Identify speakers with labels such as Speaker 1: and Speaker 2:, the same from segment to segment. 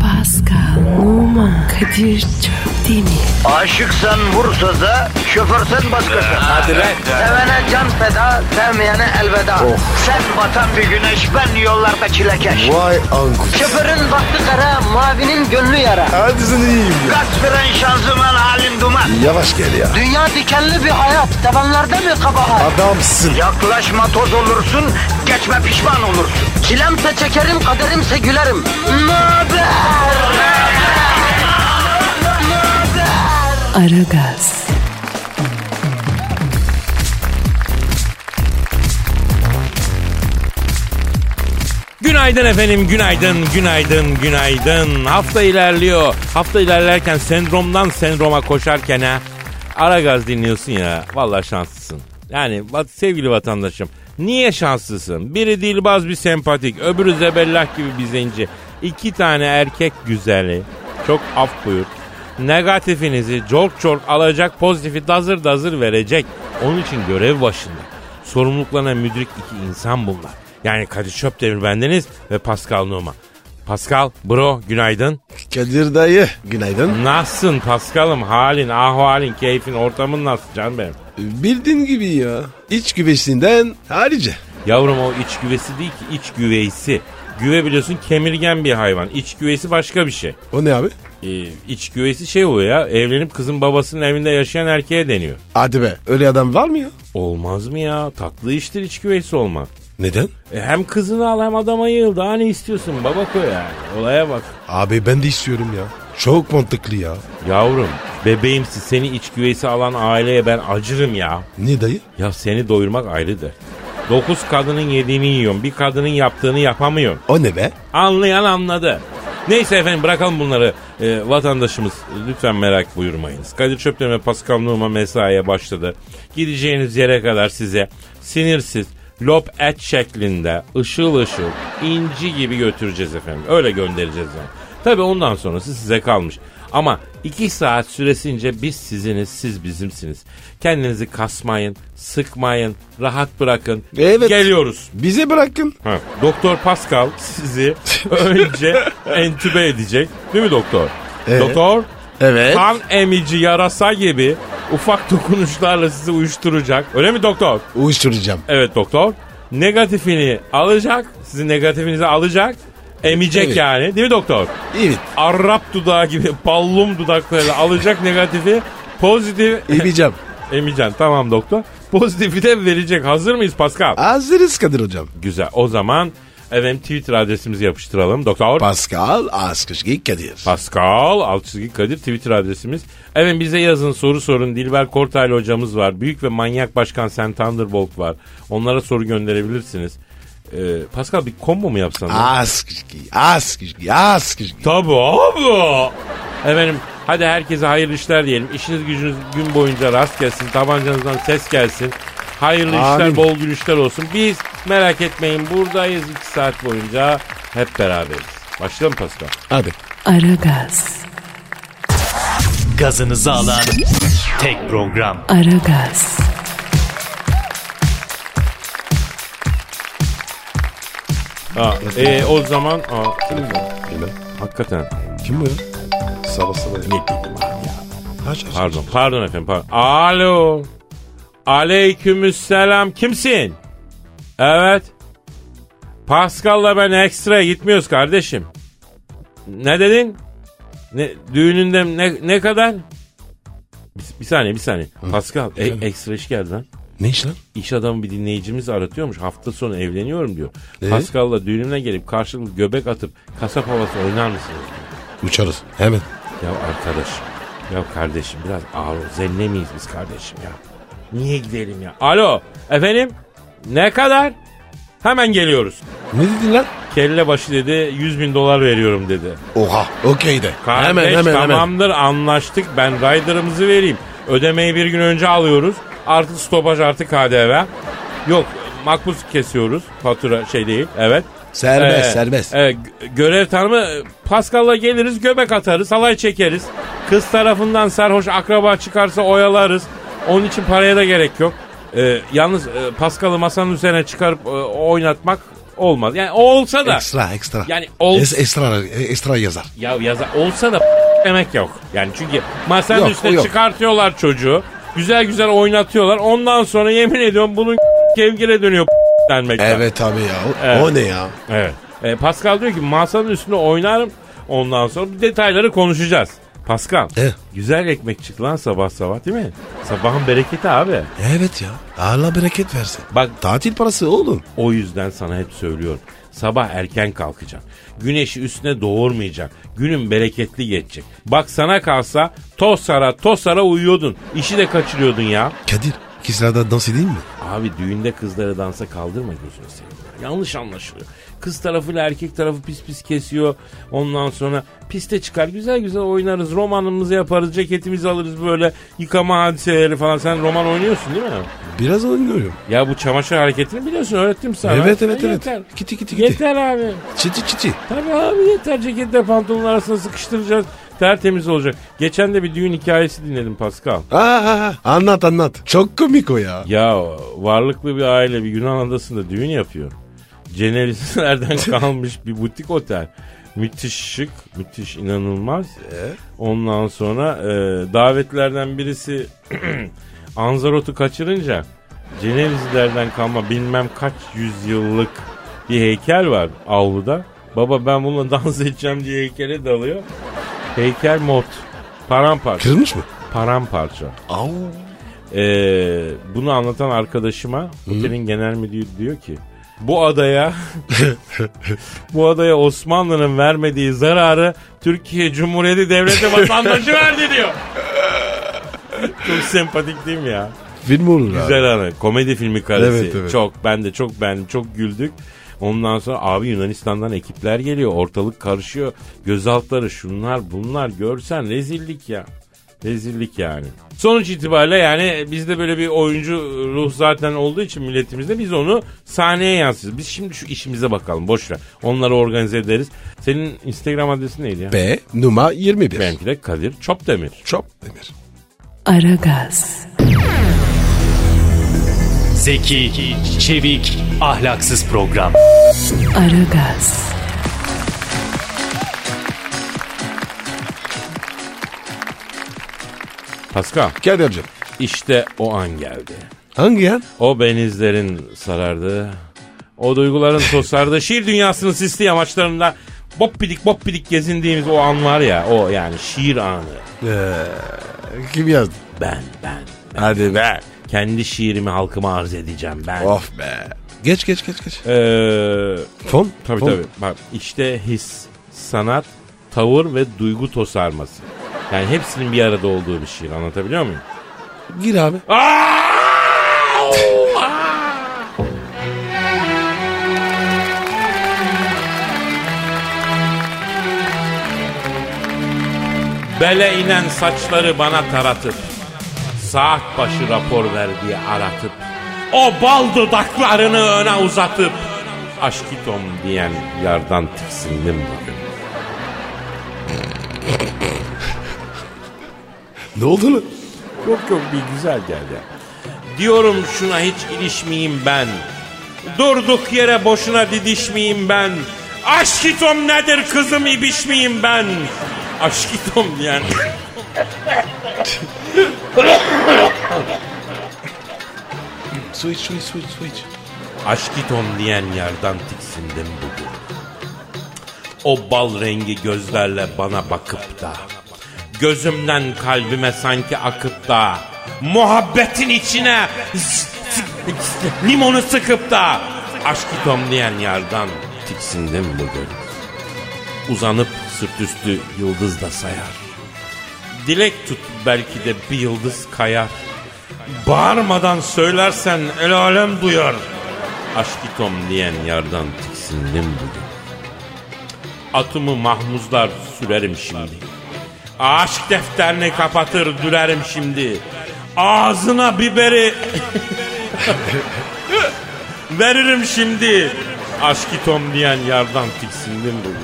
Speaker 1: Pascal, Oman, Kadir çok değil mi?
Speaker 2: Aşıksan vursa da, şoförsen başkasın.
Speaker 3: Hadi lan. Oh.
Speaker 2: Sevene can feda, sevmeyene elveda. Sen batan bir güneş, ben yollarda çilekeş.
Speaker 4: Vay anku.
Speaker 2: Şoförün baktı kara, mavinin gönlü yara.
Speaker 4: Hadi sen iyiyim ya.
Speaker 2: Kasperen şanzıman halin duman.
Speaker 4: Yavaş gel ya.
Speaker 2: Dünya dikenli bir hayat, sevenlerde mi kabahar?
Speaker 4: Adamsın.
Speaker 2: Yaklaşma toz olursun, geçme pişman olursun. Çilemse çekerim, kaderimse gülerim. Möber!
Speaker 1: Aragaz,
Speaker 3: Günaydın efendim, günaydın, günaydın, günaydın. Hafta ilerliyor. Hafta ilerlerken sendromdan sendroma koşarken ha. Ara gaz dinliyorsun ya. Vallahi şanslısın. Yani va- sevgili vatandaşım niye şanslısın? Biri dilbaz bir sempatik, öbürü zebellah gibi bir zenci. İki tane erkek güzeli. Çok af buyur. Negatifinizi çok çok alacak, pozitifi dazır dazır verecek. Onun için görev başında. Sorumluluklarına müdrik iki insan bunlar. Yani Kadir Çöpdemir bendeniz ve Pascal Numa. Pascal, bro günaydın.
Speaker 4: Kadir dayı. Günaydın.
Speaker 3: Nasılsın Pascal'ım? Halin, ahvalin, keyfin, ortamın nasıl canım benim?
Speaker 4: Bildiğin gibi ya. İç güveçliğinden harici.
Speaker 3: Yavrum o iç güvesi değil ki iç güveysi. Güve biliyorsun kemirgen bir hayvan. İç güveysi başka bir şey.
Speaker 4: O ne abi?
Speaker 3: Ee, iç güveysi şey oluyor ya evlenip kızın babasının evinde yaşayan erkeğe deniyor.
Speaker 4: Hadi be. Öyle adam var mı ya?
Speaker 3: Olmaz mı ya? Tatlı iştir iç güveysi olmak.
Speaker 4: Neden?
Speaker 3: E, hem kızını al hem adama yığıl. Daha ne istiyorsun baba koy yani. Olaya bak.
Speaker 4: Abi ben de istiyorum ya. Çok mantıklı ya.
Speaker 3: Yavrum bebeğimsi seni iç güveysi alan aileye ben acırım ya.
Speaker 4: Ne dayı?
Speaker 3: Ya seni doyurmak ayrıdır. Dokuz kadının yediğini yiyorsun. Bir kadının yaptığını yapamıyorsun.
Speaker 4: O ne be?
Speaker 3: Anlayan anladı. Neyse efendim bırakalım bunları. Ee, vatandaşımız lütfen merak buyurmayınız. Kadir Çöpten ve Pascal Numa mesaiye başladı. Gideceğiniz yere kadar size sinirsiz, lop et şeklinde, ışıl ışıl, inci gibi götüreceğiz efendim. Öyle göndereceğiz yani. Tabii ondan sonrası size kalmış. Ama iki saat süresince biz siziniz, siz bizimsiniz. Kendinizi kasmayın, sıkmayın, rahat bırakın.
Speaker 4: Evet.
Speaker 3: Geliyoruz.
Speaker 4: Bize bırakın.
Speaker 3: Ha, Doktor Pascal sizi önce entübe edecek. Değil mi doktor?
Speaker 4: Ee?
Speaker 3: Doktor
Speaker 4: Evet.
Speaker 3: kan emici yarasa gibi ufak dokunuşlarla sizi uyuşturacak. Öyle mi doktor?
Speaker 4: Uyuşturacağım.
Speaker 3: Evet doktor. Negatifini alacak. Sizin negatifinizi alacak. Emecek
Speaker 4: Evet.
Speaker 3: yani. Değil mi doktor?
Speaker 4: Evet.
Speaker 3: Arap dudağı gibi ballum dudaklarıyla alacak negatifi. Pozitif
Speaker 4: İbicem.
Speaker 3: emeceksin. Tamam doktor. Pozitifi de verecek. Hazır mıyız Pascal?
Speaker 4: Hazırız Kadir hocam.
Speaker 3: Güzel. O zaman efendim Twitter adresimizi yapıştıralım. Doktor
Speaker 4: Pascal Askışki Kadir.
Speaker 3: Pascal alt çizgi Kadir Twitter adresimiz. Efendim bize yazın soru sorun. Dilber Kortaylı hocamız var. Büyük ve manyak başkan Sen Thunderbolt var. Onlara soru gönderebilirsiniz. Ee, Pascal bir combo mu yapsan?
Speaker 4: Askışki, Askışki, Askışki.
Speaker 3: Tabii abi. Efendim hadi herkese hayırlı işler diyelim. İşiniz gücünüz gün boyunca rast gelsin. Tabancanızdan ses gelsin. Hayırlı
Speaker 4: Amin.
Speaker 3: işler, bol gülüşler olsun. Biz merak etmeyin buradayız 2 saat boyunca hep beraberiz. Başlayalım Pascal.
Speaker 4: Hadi.
Speaker 1: Aragaz,
Speaker 5: gazınızı alan tek program.
Speaker 1: Aragaz,
Speaker 3: Ha, e, o zaman... Aa, kim bu? Hakikaten.
Speaker 4: Kim bu ya? Sabah sabah.
Speaker 3: Ne bileyim abi ya.
Speaker 4: Aç, aç.
Speaker 3: Pardon, pardon efendim. Pardon. Alo. Aleykümselam. Kimsin? Evet. Pascal'la ben ekstra gitmiyoruz kardeşim. Ne dedin? Ne, düğününde ne, ne kadar? Bir, bir saniye bir saniye. Pascal e- ekstra iş geldi lan.
Speaker 4: Ne iş lan?
Speaker 3: İş adamı bir dinleyicimiz aratıyormuş. Hafta sonu evleniyorum diyor. Pascal'la düğününe gelip karşılıklı göbek atıp kasap havası oynar mısınız?
Speaker 4: Uçarız. Hemen.
Speaker 3: Ya arkadaşım, ya kardeşim biraz ağır ol. Zenne miyiz biz kardeşim ya? Niye gidelim ya? Alo, efendim? Ne kadar? Hemen geliyoruz.
Speaker 4: Ne dedin lan?
Speaker 3: Kelle başı dedi 100 bin dolar veriyorum dedi.
Speaker 4: Oha. Okey de.
Speaker 3: Kardeş tamamdır anlaştık ben rider'ımızı vereyim. Ödemeyi bir gün önce alıyoruz. Artı stopaj artı KDV. Yok makbuz kesiyoruz fatura şey değil evet.
Speaker 4: Serbest
Speaker 3: Ee,
Speaker 4: serbest.
Speaker 3: e, gö- görev tanımı e, Pascal'la geliriz göbek atarız halay çekeriz. Kız tarafından sarhoş akraba çıkarsa oyalarız. Onun için Ee, paraya da gerek yok. E, yalnız e, Pascal'ı masanın üzerine çıkarıp e, oynatmak Olmaz. Yani o olsa da.
Speaker 6: Ekstra ekstra.
Speaker 3: Yani ol-
Speaker 6: Es- ekstra, ekstra yazar.
Speaker 3: Ya yaza olsa da demek yok. Yani çünkü masanın
Speaker 6: Yok,
Speaker 3: üstüne
Speaker 6: o yok.
Speaker 3: çıkartıyorlar çocuğu. Güzel güzel oynatıyorlar. Ondan sonra yemin ediyorum bunun kevgire dönüyor denmekten.
Speaker 6: Evet abi ya. O,
Speaker 3: Evet.
Speaker 6: o ne ya?
Speaker 3: Evet. E, Pascal diyor ki masanın üstüne oynarım. Ondan sonra bu detayları konuşacağız. Pascal.
Speaker 6: E?
Speaker 3: Güzel ekmek çıktı lan sabah sabah değil mi? Sabahın bereketi abi.
Speaker 6: Evet ya. Allah bereket versin.
Speaker 3: Bak
Speaker 6: Tatil parası oğlum.
Speaker 3: O yüzden sana hep söylüyorum. Sabah erken kalkacaksın. Güneşi üstüne doğurmayacaksın. Günün bereketli geçecek. Bak sana kalsa tosara tosara uyuyordun. İşi de kaçırıyordun ya.
Speaker 6: Kadir. Kisra'da dans edeyim mi?
Speaker 3: Abi düğünde kızları dansa kaldırma gözünü seveyim. ya. Yanlış anlaşılıyor. Kız tarafıyla erkek tarafı pis pis kesiyor. Ondan sonra piste çıkar güzel güzel oynarız. Romanımızı yaparız. Ceketimizi alırız böyle. Yıkama hadiseleri falan. Sen roman oynuyorsun değil mi?
Speaker 6: Biraz oynuyorum.
Speaker 3: Ya bu çamaşır hareketini biliyorsun öğrettim sana.
Speaker 6: Evet, evet,
Speaker 3: Ya
Speaker 6: evet.
Speaker 3: Yeter.
Speaker 6: Kiti, kiti, kiti.
Speaker 3: Yeter abi.
Speaker 6: Çiti çiti.
Speaker 3: Tabii abi yeter ceketle pantolonun arasına sıkıştıracağız. Tertemiz olacak. Geçen de bir düğün hikayesi dinledim Pascal.
Speaker 6: Aa, anlat anlat. Çok komik o ya.
Speaker 3: Ya varlıklı bir aile bir Yunan adasında düğün yapıyor. Cenevizlerden kalmış bir butik otel. Müthiş şık, müthiş inanılmaz. Ondan sonra e, davetlerden birisi Anzarot'u kaçırınca Cenevizlerden kalma bilmem kaç yüzyıllık bir heykel var avluda. Baba ben bununla dans edeceğim diye heykele dalıyor. Heykel mot. Paramparça.
Speaker 6: Kırılmış mı?
Speaker 3: Paramparça.
Speaker 6: Au.
Speaker 3: Ee, bunu anlatan arkadaşıma otelin genel müdürü diyor ki bu adaya bu adaya Osmanlı'nın vermediği zararı Türkiye Cumhuriyeti Devleti vatandaşı verdi diyor. Çok sempatik değil mi ya?
Speaker 6: Film olur abi.
Speaker 3: Güzel anı. Komedi filmi karesi.
Speaker 6: Evet, evet.
Speaker 3: Çok ben de çok beğendim. Çok güldük. Ondan sonra abi Yunanistan'dan ekipler geliyor. Ortalık karışıyor. Gözaltları şunlar bunlar görsen rezillik ya. Rezillik yani. Sonuç itibariyle yani bizde böyle bir oyuncu ruh zaten olduğu için milletimizde biz onu sahneye yansıtırız. Biz şimdi şu işimize bakalım boş ver. Onları organize ederiz. Senin Instagram adresin neydi ya?
Speaker 6: B numara 21.
Speaker 3: Benimki de Kadir Çopdemir.
Speaker 6: Çok demir.
Speaker 1: Aragaz,
Speaker 5: Zeki, çevik, ahlaksız program.
Speaker 1: Aragaz,
Speaker 3: Pascal
Speaker 6: Kadir'cim.
Speaker 3: işte o an geldi.
Speaker 6: Hangi yer?
Speaker 3: O benizlerin sarardığı, o duyguların tosardığı, şiir dünyasının sisli yamaçlarında boppidik boppidik gezindiğimiz o an var ya, o yani şiir anı.
Speaker 6: Kim yazdı?
Speaker 3: Ben, ben,
Speaker 6: Hadi be.
Speaker 3: kendi şiirimi halkıma arz edeceğim ben.
Speaker 6: Of be. Geç geç geç geç.
Speaker 3: Ee,
Speaker 6: Fon?
Speaker 3: tabii
Speaker 6: Fon.
Speaker 3: tabii, bak işte his, sanat, tavır ve duygu tosarması. Yani hepsinin bir arada olduğu bir şiir anlatabiliyor muyum?
Speaker 6: Gir abi.
Speaker 3: Bele inen saçları bana taratıp Saat başı rapor verdiği aratıp O bal dudaklarını öne uzatıp Aşkitom diyen yardan tiksindim bugün.
Speaker 6: Ne oldu lan?
Speaker 3: Yok yok bir güzel geldi. Diyorum şuna hiç ilişmeyeyim ben. Durduk yere boşuna didişmeyeyim ben. Aşkitom nedir kızım ibişmeyeyim ben. Aşkitom diyen.
Speaker 6: Su iç su iç su iç su iç.
Speaker 3: Aşkitom diyen yerden tiksindim bugün. O bal rengi gözlerle bana bakıp da Gözümden kalbime sanki akıp da Muhabbetin içine limonu sıkıp da Aşkitom diyen yerden tiksindim bugün. Uzanıp sırt üstü yıldız da sayar. Dilek tut belki de bir yıldız kayar. Bağırmadan söylersen el alem duyar. Aşkitom diyen yardan tiksindim bugün. Atımı mahmuzlar sürerim şimdi. Aşk defterini kapatır dürerim şimdi. Ağzına biberi veririm şimdi. Aşkitom diyen yardan tiksindim bugün.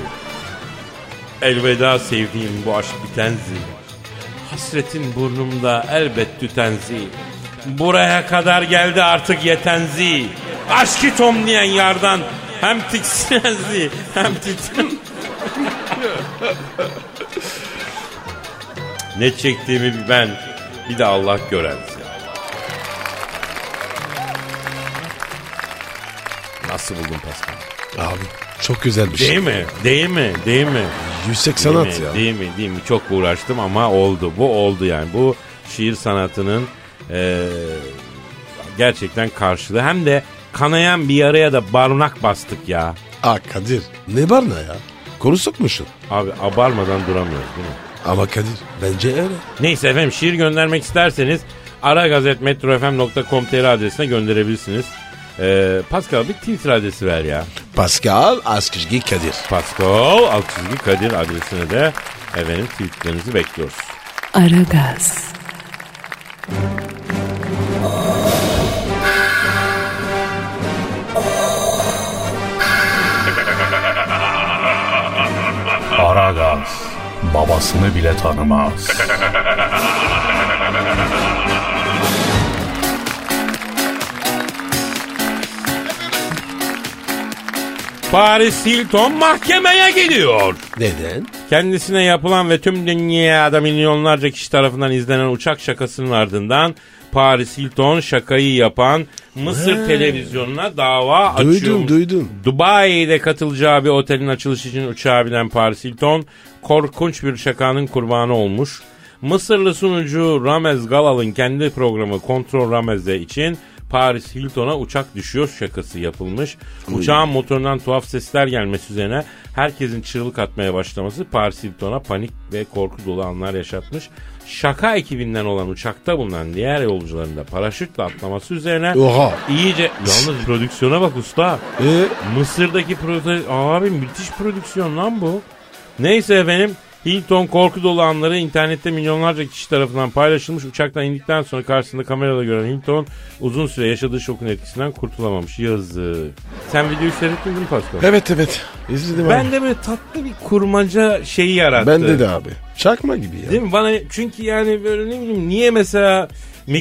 Speaker 3: Elveda sevdiğim bu aşk bitenzi. Hasretin burnumda elbet tütenzi. Buraya kadar geldi artık yetenzi. Aşkı tom diyen yardan Hem tiksinenzi hem titin. ne çektiğimi bir ben bir de Allah gören. Nasıl buldun Pascal?
Speaker 6: Abi çok güzelmiş.
Speaker 3: Değil mi? Değil mi? Değil mi?
Speaker 6: 180
Speaker 3: değil
Speaker 6: at
Speaker 3: mi?
Speaker 6: ya.
Speaker 3: Değil mi? Değil mi? Çok uğraştım ama oldu. Bu oldu yani. Bu şiir sanatının eee, gerçekten karşılığı. Hem de kanayan bir yaraya da barınak bastık ya.
Speaker 6: Aa Kadir ne barna ya? Konu sokmuşsun.
Speaker 3: Abi abarmadan duramıyoruz değil mi?
Speaker 6: Ama Kadir bence öyle.
Speaker 3: Neyse efendim şiir göndermek isterseniz aragazetmetrofm.com.tr adresine gönderebilirsiniz. Eee Pascal bir Twitter adresi ver ya.
Speaker 6: Pascal Askışgi Kadir.
Speaker 3: Pascal alt çizgi Kadir adresine de efendim tweetlerinizi bekliyoruz.
Speaker 1: Aragaz,
Speaker 7: Aragaz babasını bile tanımaz.
Speaker 3: Paris Hilton mahkemeye gidiyor.
Speaker 6: Neden?
Speaker 3: Kendisine yapılan ve tüm dünyada milyonlarca kişi tarafından izlenen uçak şakasının ardından Paris Hilton şakayı yapan Mısır televizyonuna dava
Speaker 6: Duydum,
Speaker 3: açıyor.
Speaker 6: duydum.
Speaker 3: Dubai'de katılacağı bir otelin açılışı için uçağa binen Paris Hilton korkunç bir şakanın kurbanı olmuş. Mısırlı sunucu Ramez Galal'ın kendi programı Kontrol Ramez'e için Paris Hilton'a uçak düşüyor şakası yapılmış. Uçağın motorundan tuhaf sesler gelmesi üzerine herkesin çığlık atmaya başlaması Paris Hilton'a panik ve korku dolu anlar yaşatmış. Şaka ekibinden olan uçakta bulunan diğer yolcuların da paraşütle atlaması üzerine
Speaker 6: Oha.
Speaker 3: iyice... Yalnız prodüksiyona bak usta.
Speaker 6: Ee,
Speaker 3: Mısır'daki prodüksiyon... Abi müthiş prodüksiyon lan bu. Neyse efendim Hilton korku dolu anları internette milyonlarca kişi tarafından paylaşılmış. Uçaktan indikten sonra karşısında kamerada gören Hilton uzun süre yaşadığı şokun etkisinden kurtulamamış. Yazık. Sen videoyu seyrettin mi Pascal?
Speaker 6: evet evet. İzledim
Speaker 3: Ben
Speaker 6: abi.
Speaker 3: de böyle tatlı bir kurmaca şeyi yarattı.
Speaker 6: Ben de de abi. Çakma gibi ya.
Speaker 3: Değil mi? Bana çünkü yani böyle ne bileyim niye mesela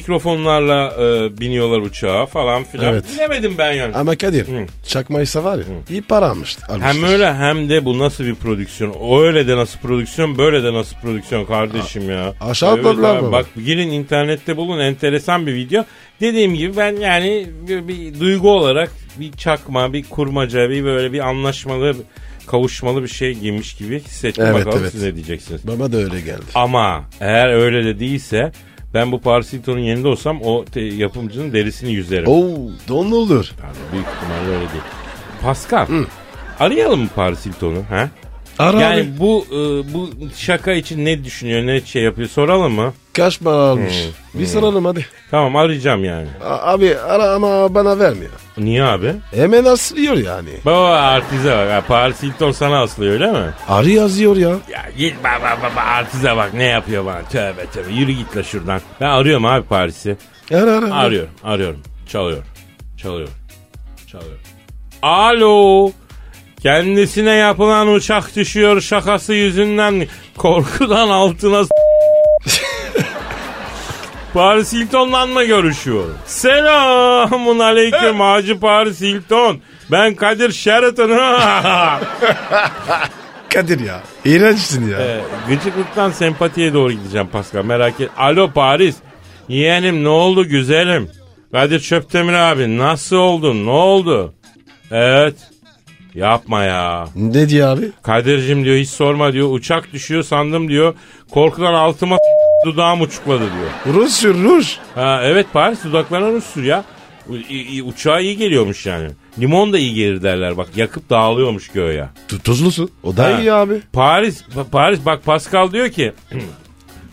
Speaker 3: mikrofonlarla e, biniyorlar uçağa falan filan.
Speaker 6: Evet.
Speaker 3: Bilemedim ben yani.
Speaker 6: Ama Kadir
Speaker 3: Hı.
Speaker 6: çakmaysa var ya iyi para almıştı.
Speaker 3: Hem öyle hem de bu nasıl bir prodüksiyon? O öyle de nasıl prodüksiyon, böyle de nasıl prodüksiyon kardeşim ya.
Speaker 6: aşağı atladılar
Speaker 3: abi,
Speaker 6: baba.
Speaker 3: Bak girin internette bulun enteresan bir video. Dediğim gibi ben yani bir, bir duygu olarak bir çakma, bir kurmaca, bir böyle bir anlaşmalı, kavuşmalı bir şey giymiş gibi hissettim.
Speaker 6: Evet,
Speaker 3: Bakalım
Speaker 6: evet.
Speaker 3: siz ne diyeceksiniz.
Speaker 6: Baba da öyle geldi.
Speaker 3: Ama eğer öyle de değilse ben bu Paris Hilton'un yerinde olsam o te- yapımcının derisini yüzerim.
Speaker 6: Oo don olur.
Speaker 3: Yani büyük ihtimalle öyle değil. Pascal. Arayalım mı Paris Hilton'u? Ha?
Speaker 6: Ara
Speaker 3: Yani
Speaker 6: abi.
Speaker 3: bu e, bu şaka için ne düşünüyor, ne şey yapıyor soralım mı?
Speaker 6: Kaç para almış? Bir soralım hadi.
Speaker 3: Tamam arayacağım yani.
Speaker 6: A- abi ara ama bana vermiyor.
Speaker 3: Niye abi?
Speaker 6: Hemen asılıyor yani.
Speaker 3: Baba artize bak. Ha, Paris Hilton sana aslıyor öyle mi?
Speaker 6: Arı yazıyor ya.
Speaker 3: Ya git baba baba artize bak ne yapıyor bana. Tövbe tövbe yürü git la şuradan. Ben arıyorum abi Paris'i.
Speaker 6: Ara ara. ara.
Speaker 3: Arıyorum arıyorum. Çalıyor. Çalıyor. Çalıyor. Alo. Kendisine yapılan uçak düşüyor şakası yüzünden korkudan altına s- Paris Hilton'la mı görüşüyorum? Selamun aleyküm Hacı Paris Hilton. Ben Kadir Sheraton.
Speaker 6: Kadir ya. İğrençsin ya.
Speaker 3: Ee, Gıcıklıktan sempatiye doğru gideceğim Pascal merak et. Alo Paris. Yeğenim ne oldu güzelim? Kadir Çöptemir abi nasıl oldun ne oldu? Evet. Yapma ya.
Speaker 6: Ne diyor abi?
Speaker 3: Kadir'cim diyor hiç sorma diyor. Uçak düşüyor sandım diyor. Korkudan altıma dudağım uçukladı diyor.
Speaker 6: Rus sür Rus.
Speaker 3: Ha, evet Paris dudaklarına Rus sür ya. U- i- i- uçağa iyi geliyormuş yani. Limon da iyi gelir derler bak yakıp dağılıyormuş göğe.
Speaker 6: Tu- Tuzlusun. O da
Speaker 3: Ha.
Speaker 6: iyi abi.
Speaker 3: Paris, Pa- Paris bak Pascal diyor ki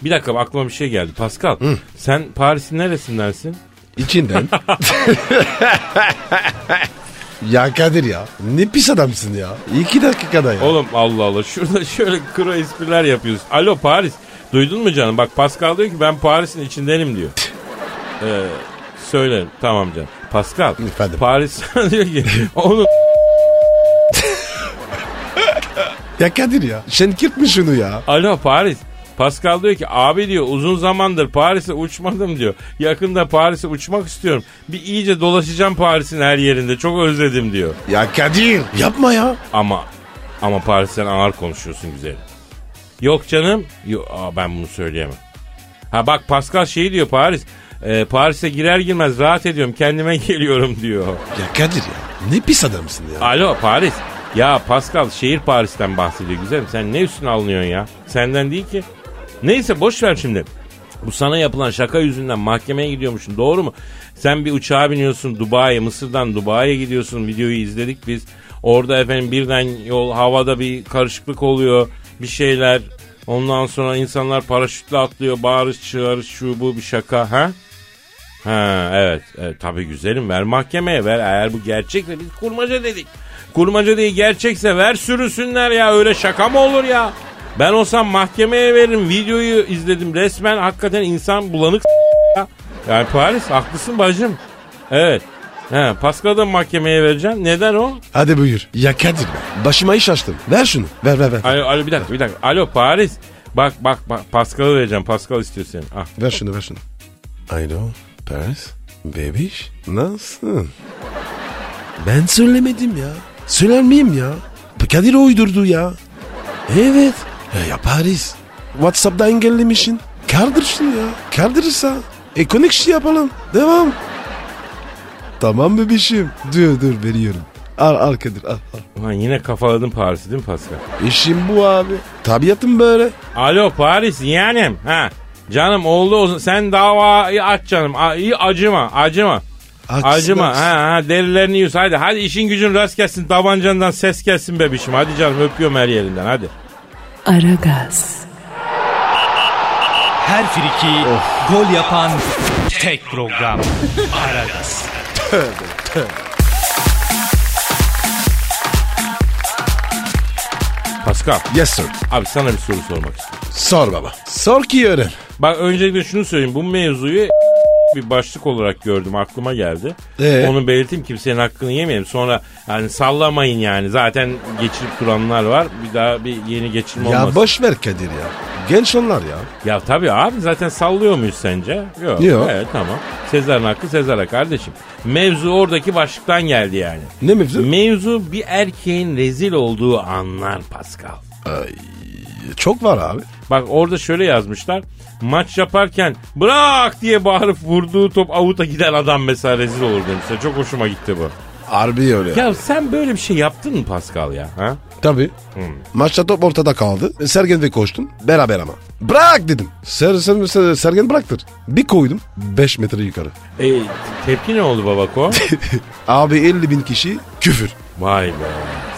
Speaker 3: bir dakika aklıma bir şey geldi. Pascal sen Paris'in neresindensin?
Speaker 6: İçinden. ya Kadir ya. Ne pis adamsın ya. İki dakikada ya.
Speaker 3: Oğlum Allah Allah şurada şöyle kuru espriler yapıyoruz. Alo Paris duydun mu canım? Bak Pascal diyor ki ben Paris'in içindenim diyor. ee, söylerim tamam canım. Pascal
Speaker 6: Efendim?
Speaker 3: Paris sana diyor ki onu
Speaker 6: Ya Kadir ya. Sen kirpme şunu ya.
Speaker 3: alo Paris Pascal diyor ki abi diyor uzun zamandır Paris'e uçmadım diyor. Yakında Paris'e uçmak istiyorum. Bir iyice dolaşacağım Paris'in her yerinde. Çok özledim diyor.
Speaker 6: Ya Kadir yapma ya.
Speaker 3: Ama ama Paris'ten ağır konuşuyorsun güzelim. Yok canım. Yo, aa, ben bunu söyleyemem. Ha bak Pascal şey diyor Paris. e, Paris'e girer girmez rahat ediyorum kendime geliyorum diyor.
Speaker 6: Ya Kadir ya ne pis adamsın ya.
Speaker 3: Alo Paris. Ya Pascal şehir Paris'ten bahsediyor güzelim. Sen ne üstüne alınıyorsun ya? Senden değil ki. Neyse boş ver şimdi. Bu sana yapılan şaka yüzünden mahkemeye gidiyormuşsun doğru mu? Sen bir uçağa biniyorsun Dubai'ye Mısır'dan Dubai'ye gidiyorsun videoyu izledik biz. Orada efendim birden yol havada bir karışıklık oluyor bir şeyler. Ondan sonra insanlar paraşütle atlıyor bağırış çığırış şu bu bir şaka ha? Ha evet, evet tabii güzelim ver mahkemeye ver eğer bu gerçekse biz kurmaca dedik. Kurmaca değil gerçekse ver sürüsünler ya öyle şaka mı olur ya? Ben olsam mahkemeye veririm videoyu izledim resmen hakikaten insan bulanık ya. Yani Paris haklısın bacım. Evet. He, Pascal'ı da mahkemeye vereceksin. Neden o?
Speaker 6: Hadi buyur. Ya Kadir be. Başıma iş açtım. Ver şunu. Ver ver ver.
Speaker 3: Alo, alo bir dakika bir dakika. Alo Paris. Bak bak bak Pascal'ı vereceğim. Pascal istiyor seni. Ah.
Speaker 6: Ver şunu ver şunu. Alo Paris. Bebiş. Nasılsın? Ben söylemedim ya. Söyler miyim ya? Bu Kadir uydurdu ya. Evet. Ya, ya Paris. Whatsapp'ta engellemişsin. Kaldır şunu ya. Kaldırırsa. Ekonik şey yapalım. Devam. Tamam bebişim. Dur dur veriyorum. Al al Kadir al. al.
Speaker 3: Ulan yine kafaladın Paris'i değil mi Pascal?
Speaker 6: İşim bu abi. Tabiatım böyle.
Speaker 3: Alo Paris yeğenim. Ha. Canım oldu olsun. Sen davayı aç canım. A- iyi acıma acıma.
Speaker 6: Haklısın,
Speaker 3: acıma.
Speaker 6: haklısın.
Speaker 3: Ha, ha, derilerini yüz. Hadi hadi işin gücün rast gelsin. Tabancandan ses gelsin bebişim. Hadi canım öpüyorum her yerinden hadi.
Speaker 1: Aragaz,
Speaker 5: Her friki gol yapan tek program. Aragaz.
Speaker 3: Pascal
Speaker 6: Yes sir.
Speaker 3: abi sana bir soru sormak istiyorum.
Speaker 6: Sor baba. Sor ki öğren.
Speaker 3: Bak öncelikle şunu söyleyeyim. Bu mevzuyu bir başlık olarak gördüm aklıma geldi.
Speaker 6: Ee?
Speaker 3: Onu belirteyim kimsenin hakkını yemeyelim. Sonra yani sallamayın yani. Zaten geçirip duranlar var. Bir daha bir yeni geçirme
Speaker 6: Ya
Speaker 3: olmasın.
Speaker 6: boş ver Kadir ya. Genç onlar ya.
Speaker 3: Ya tabii abi zaten sallıyor muyuz sence? Yok.
Speaker 6: Yok.
Speaker 3: Evet tamam. Sezar'ın hakkı Sezar'a kardeşim. Mevzu oradaki başlıktan geldi yani.
Speaker 6: Ne mevzu?
Speaker 3: Mevzu bir erkeğin rezil olduğu anlar Pascal.
Speaker 6: Çok var abi.
Speaker 3: Bak orada şöyle yazmışlar. Maç yaparken bırak diye bağırıp vurduğu top avuta giden adam mesela rezil olur demişler. Çok hoşuma gitti bu.
Speaker 6: Harbi öyle.
Speaker 3: Ya sen böyle bir şey yaptın mı Pascal ya? Ha?
Speaker 6: Tabii.
Speaker 3: Hmm.
Speaker 6: Maçta top ortada kaldı. Sergen ve koştun. Beraber ama. Bırak dedim. Ser, ser, ser- Sergen bıraktır. Bir koydum. 5 metre yukarı.
Speaker 3: E, tepki ne oldu babako?
Speaker 6: Abi 50 bin kişi küfür.
Speaker 3: Vay be.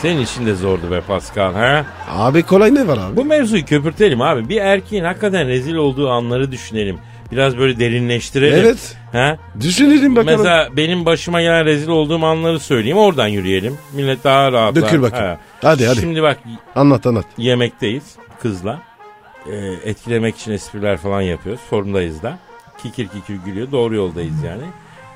Speaker 3: Senin için de zordu be Pascal ha?
Speaker 6: Abi kolay ne var abi?
Speaker 3: Bu mevzuyu köpürtelim abi. Bir erkeğin hakikaten rezil olduğu anları düşünelim. Biraz böyle derinleştirelim.
Speaker 6: Evet.
Speaker 3: Ha?
Speaker 6: Düşünelim bakalım.
Speaker 3: Mesela benim başıma gelen rezil olduğum anları söyleyeyim. Oradan yürüyelim. Millet daha rahat.
Speaker 6: Dökül bakayım. Hadi, hadi.
Speaker 3: Şimdi bak y-
Speaker 6: Anlat anlat.
Speaker 3: yemekteyiz kızla. Ee, etkilemek için espriler falan yapıyoruz. Formdayız da. Kikir kikir gülüyor. Doğru yoldayız yani.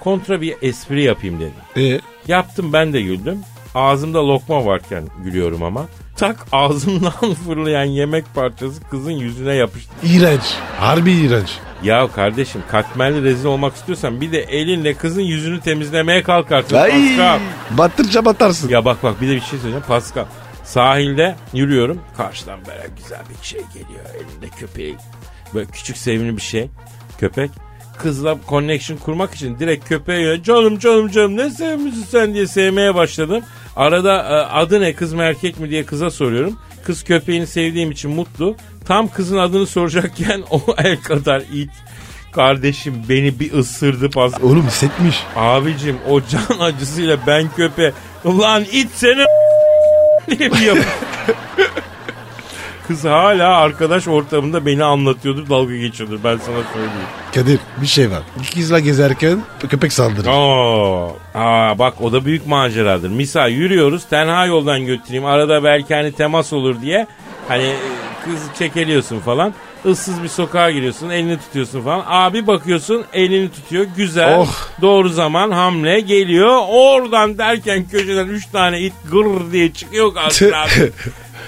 Speaker 3: Kontra bir espri yapayım dedim.
Speaker 6: Ee,
Speaker 3: Yaptım ben de güldüm. Ağzımda lokma varken gülüyorum ama. Tak ağzımdan fırlayan yemek parçası kızın yüzüne yapıştı.
Speaker 6: iğrenç. Harbi iğrenç.
Speaker 3: Ya kardeşim katmerli rezil olmak istiyorsan bir de elinle kızın yüzünü temizlemeye kalk artık
Speaker 6: Ay,
Speaker 3: Pascal.
Speaker 6: battırca batarsın.
Speaker 3: Ya bak bak bir de bir şey söyleyeceğim Pascal. Sahilde yürüyorum. Karşıdan böyle güzel bir şey geliyor. Elinde köpeği. Böyle küçük sevimli bir şey. Köpek. Kızla connection kurmak için direkt köpeğe yönelik canım canım canım ne sevimlisin sen diye sevmeye başladım. Arada e, adı ne kız mı erkek mi diye kıza soruyorum. Kız köpeğini sevdiğim için mutlu. Tam kızın adını soracakken o el kadar it kardeşim beni bir ısırdı Pascal.
Speaker 6: Oğlum hissetmiş.
Speaker 3: Abicim o can acısıyla ben köpe ulan it seni diye bir yap- Kız hala arkadaş ortamında beni anlatıyordur dalga geçiyordur ben sana söyleyeyim.
Speaker 6: Kadir bir şey var. Kızla gezerken köpek saldırır.
Speaker 3: Oo. Aa, bak o da büyük maceradır. Misal yürüyoruz tenha yoldan götüreyim arada belki hani temas olur diye hani e, kızı çekeliyorsun falan. Issız bir sokağa giriyorsun elini tutuyorsun falan. Abi bakıyorsun elini tutuyor güzel
Speaker 6: Oh.
Speaker 3: doğru zaman hamle geliyor. Oradan derken köşeden 3 tane it gır diye çıkıyor karşına abi.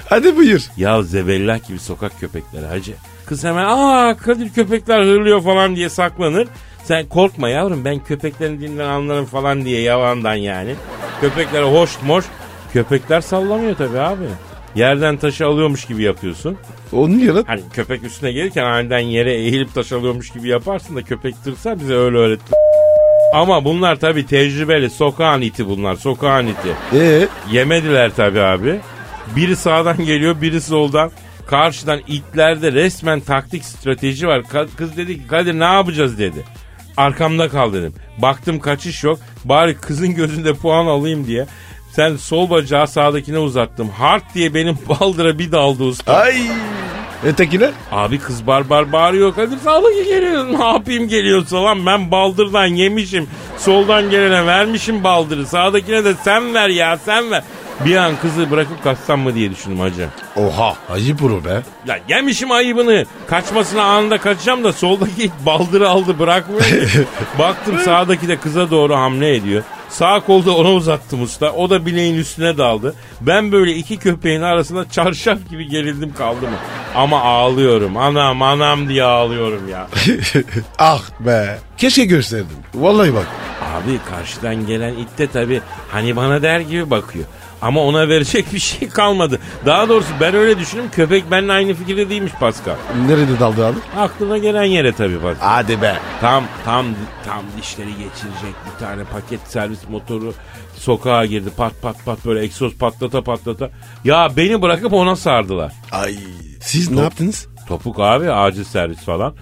Speaker 4: Hadi buyur.
Speaker 3: Ya zebellah gibi sokak köpekleri hacı. Kız hemen aa Kadir köpekler hırlıyor falan diye saklanır. Sen korkma yavrum ben köpeklerin dilinden anlarım falan diye yalandan yani. Köpeklere hoş moş. Köpekler sallamıyor tabii abi. Yerden taşı alıyormuş gibi yapıyorsun.
Speaker 4: Onu yarat.
Speaker 3: Hani köpek üstüne gelirken aniden yere eğilip taş alıyormuş gibi yaparsın da köpek tırsa bize öyle öğretti. Ama bunlar tabii tecrübeli sokağın iti bunlar sokağın iti.
Speaker 4: Ee,
Speaker 3: Yemediler tabii abi. Biri sağdan geliyor, biri soldan. Karşıdan itlerde resmen taktik strateji var. Ka- Kız dedi ki Kadir ne yapacağız dedi. Arkamda kal dedim. Baktım kaçış yok. Bari kızın gözünde puan alayım diye. Sen sol bacağı sağdakine uzattım. Hart diye benim baldıra bir daldı usta.
Speaker 4: ay. Ötekiler?
Speaker 3: Abi kız barbar bağırıyor Kadir sağlık geliyor. Ne yapayım geliyorsa lan ben baldırdan yemişim. Soldan gelene vermişim baldırı. Sağdakine de sen ver ya sen ver. Bir an kızı bırakıp kaçsam mı diye düşündüm hacı.
Speaker 6: Oha ayıp olur be.
Speaker 3: Ya yemişim ayıbını. Kaçmasına anında kaçacağım da soldaki baldırı aldı bırakmıyor. ki. Baktım sağdaki de kıza doğru hamle ediyor. Sağ kolda ona uzattım usta. O da bileğin üstüne daldı. Ben böyle iki köpeğin arasında çarşaf gibi gerildim kaldım. Ama ağlıyorum. Anam anam diye ağlıyorum ya.
Speaker 6: ah be. Keşke gösterdim. Vallahi bak.
Speaker 3: Abi karşıdan gelen it de tabii hani bana der gibi bakıyor. Ama ona verecek bir şey kalmadı. Daha doğrusu ben öyle düşündüm. Köpek benimle aynı fikirde değilmiş Pascal.
Speaker 6: Nerede daldı abi?
Speaker 3: Aklına gelen yere tabii bak.
Speaker 6: Hadi be.
Speaker 3: Tam tam tam dişleri geçirecek bir tane paket servis motoru sokağa girdi. Pat pat pat böyle egzoz patlata patlata. Ya beni bırakıp ona sardılar.
Speaker 6: Ay. Siz ne yaptınız?
Speaker 3: Topuk abi acil servis falan.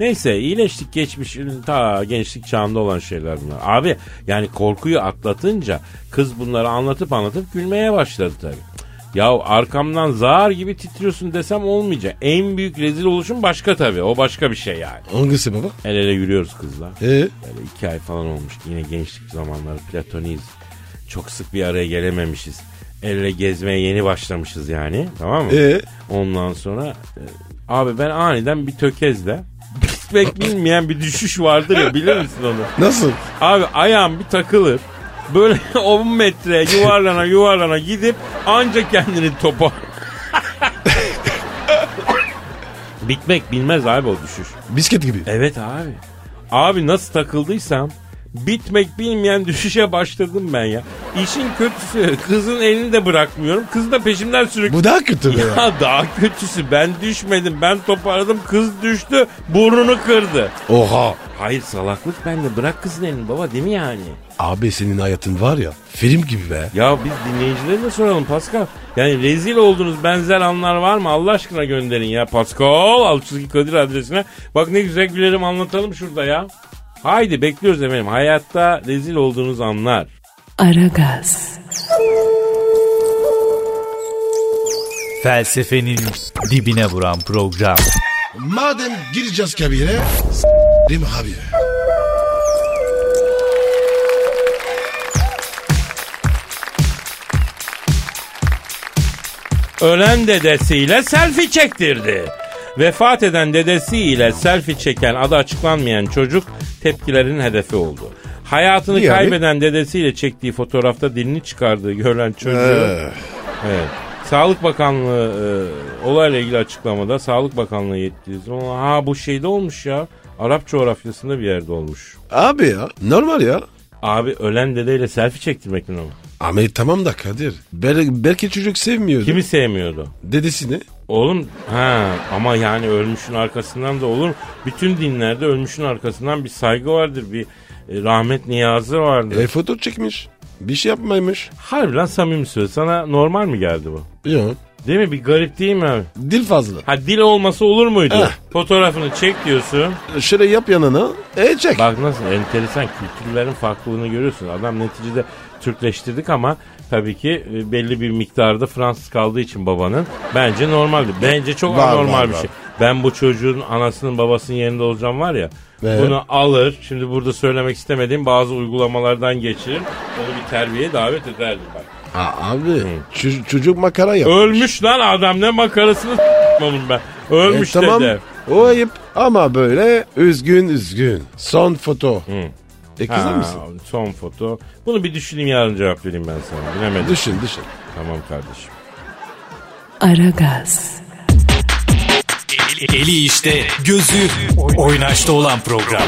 Speaker 3: Neyse iyileştik geçmiş ta gençlik çağında olan şeyler bunlar. Abi yani korkuyu atlatınca kız bunları anlatıp anlatıp gülmeye başladı tabii. Ya arkamdan zar gibi titriyorsun desem olmayacak. En büyük rezil oluşum başka tabii. O başka bir şey yani.
Speaker 6: Hangisi baba?
Speaker 3: El ele yürüyoruz kızla.
Speaker 6: Ee?
Speaker 3: Böyle iki ay falan olmuş. Yine gençlik zamanları platoniyiz. Çok sık bir araya gelememişiz. Elle gezmeye yeni başlamışız yani. Tamam mı?
Speaker 6: Ee?
Speaker 3: Ondan sonra e, abi ben aniden bir tökezle bitmek bilmeyen bir düşüş vardır ya bilir misin onu?
Speaker 6: Nasıl?
Speaker 3: Abi ayağım bir takılır. Böyle 10 metre yuvarlana yuvarlana gidip ancak kendini topa. Bitmek bilmez abi o düşüş.
Speaker 6: Bisket gibi.
Speaker 3: Evet abi. Abi nasıl takıldıysam bitmek bilmeyen düşüşe başladım ben ya. İşin kötüsü kızın elini de bırakmıyorum. Kız da peşimden sürekli...
Speaker 6: Bu daha kötü be.
Speaker 3: Ya daha kötüsü ben düşmedim ben toparladım kız düştü burnunu kırdı.
Speaker 6: Oha.
Speaker 3: Hayır salaklık bende bırak kızın elini baba değil mi yani?
Speaker 6: Abi senin hayatın var ya film gibi be.
Speaker 3: Ya biz dinleyicilere de soralım Pascal. Yani rezil olduğunuz benzer anlar var mı Allah aşkına gönderin ya Pascal Alçızki Kadir adresine. Bak ne güzel gülerim anlatalım şurada ya. Haydi bekliyoruz efendim hayatta rezil olduğunuz anlar.
Speaker 1: Aragaz,
Speaker 5: Felsefenin dibine vuran program.
Speaker 6: Madem gireceğiz kabire s**rim abi.
Speaker 3: Ölen dedesiyle selfie çektirdi. Vefat eden dedesiyle selfie çeken adı açıklanmayan çocuk tepkilerin hedefi oldu. Hayatını
Speaker 6: Niye abi?
Speaker 3: kaybeden dedesiyle çektiği fotoğrafta dilini çıkardığı görülen çocuğu Evet. Sağlık Bakanlığı e, olayla ilgili açıklamada Sağlık Bakanlığı yetkilisi. "Ulan Ha bu şeyde olmuş ya. Arap coğrafyasında bir yerde olmuş.
Speaker 4: Abi ya normal ya.
Speaker 3: Abi ölen dedeyle selfie çektirmek mi?
Speaker 6: Ama tamam da Kadir.
Speaker 4: Bel- belki çocuk sevmiyordu.
Speaker 3: Kimi sevmiyordu?
Speaker 4: Dedesini.
Speaker 3: Oğlum ha ama yani ölmüşün arkasından da olur. mu? Bütün dinlerde ölmüşün arkasından bir saygı vardır. Bir e, rahmet niyazı vardır.
Speaker 4: E, foto çekmiş. Bir şey yapmaymış.
Speaker 3: Harbiden samimi söz. Sana normal mi geldi bu?
Speaker 6: Yok.
Speaker 3: Değil mi? Bir garip değil mi abi?
Speaker 4: Dil fazla.
Speaker 3: Ha dil olması olur muydu?
Speaker 4: Eh.
Speaker 3: Fotoğrafını çek diyorsun.
Speaker 4: Şöyle yap yanına. E çek.
Speaker 3: Bak nasıl enteresan kültürlerin farklılığını görüyorsun. Adam neticede Türkleştirdik ama tabii ki e, belli bir miktarda Fransız kaldığı için babanın bence normaldi. Bence çok
Speaker 6: Var,
Speaker 3: anormal
Speaker 6: var,
Speaker 3: bir
Speaker 6: var.
Speaker 3: şey. Ben bu çocuğun anasının babasının yerinde olacağım var ya.
Speaker 6: Ve?
Speaker 3: Bunu alır. Şimdi burada söylemek istemediğim bazı uygulamalardan geçirir. Onu bir terbiyeye davet ederdim bak.
Speaker 6: Aa, abi ço- çocuk makara yap.
Speaker 3: Ölmüş lan adam ne makarasını s**madım ben. Ölmüş
Speaker 4: E, tamam.
Speaker 3: dede.
Speaker 4: O ayıp. Ama böyle üzgün üzgün. Son foto. E kızar
Speaker 3: Ha,
Speaker 4: mısın?
Speaker 3: son foto. Bunu bir düşüneyim yarın cevap vereyim ben sana. Bilemedim.
Speaker 4: Düşün düşün.
Speaker 3: Tamam kardeşim.
Speaker 1: Aragaz. Aragaz,
Speaker 5: Eli işte, gözü oynaşta olan program.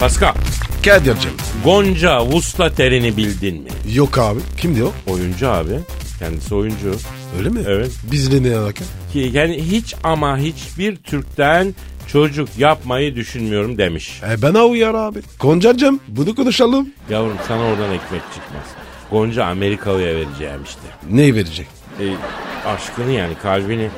Speaker 3: Pascal,
Speaker 6: Kadir'cim.
Speaker 3: Gonca Vusla terini bildin mi?
Speaker 6: Yok abi. Kimdi o?
Speaker 3: Oyuncu abi. Kendisi oyuncu.
Speaker 6: Öyle mi?
Speaker 3: Evet.
Speaker 6: Bizle ne alaka?
Speaker 3: Ki yani hiç ama hiçbir Türk'ten çocuk yapmayı düşünmüyorum demiş.
Speaker 6: E bana uyar abi. Goncacım bunu konuşalım.
Speaker 3: Yavrum sana oradan ekmek çıkmaz. Gonca Amerikalı'ya vereceğim işte.
Speaker 6: Neyi verecek?
Speaker 3: E, aşkını yani kalbini.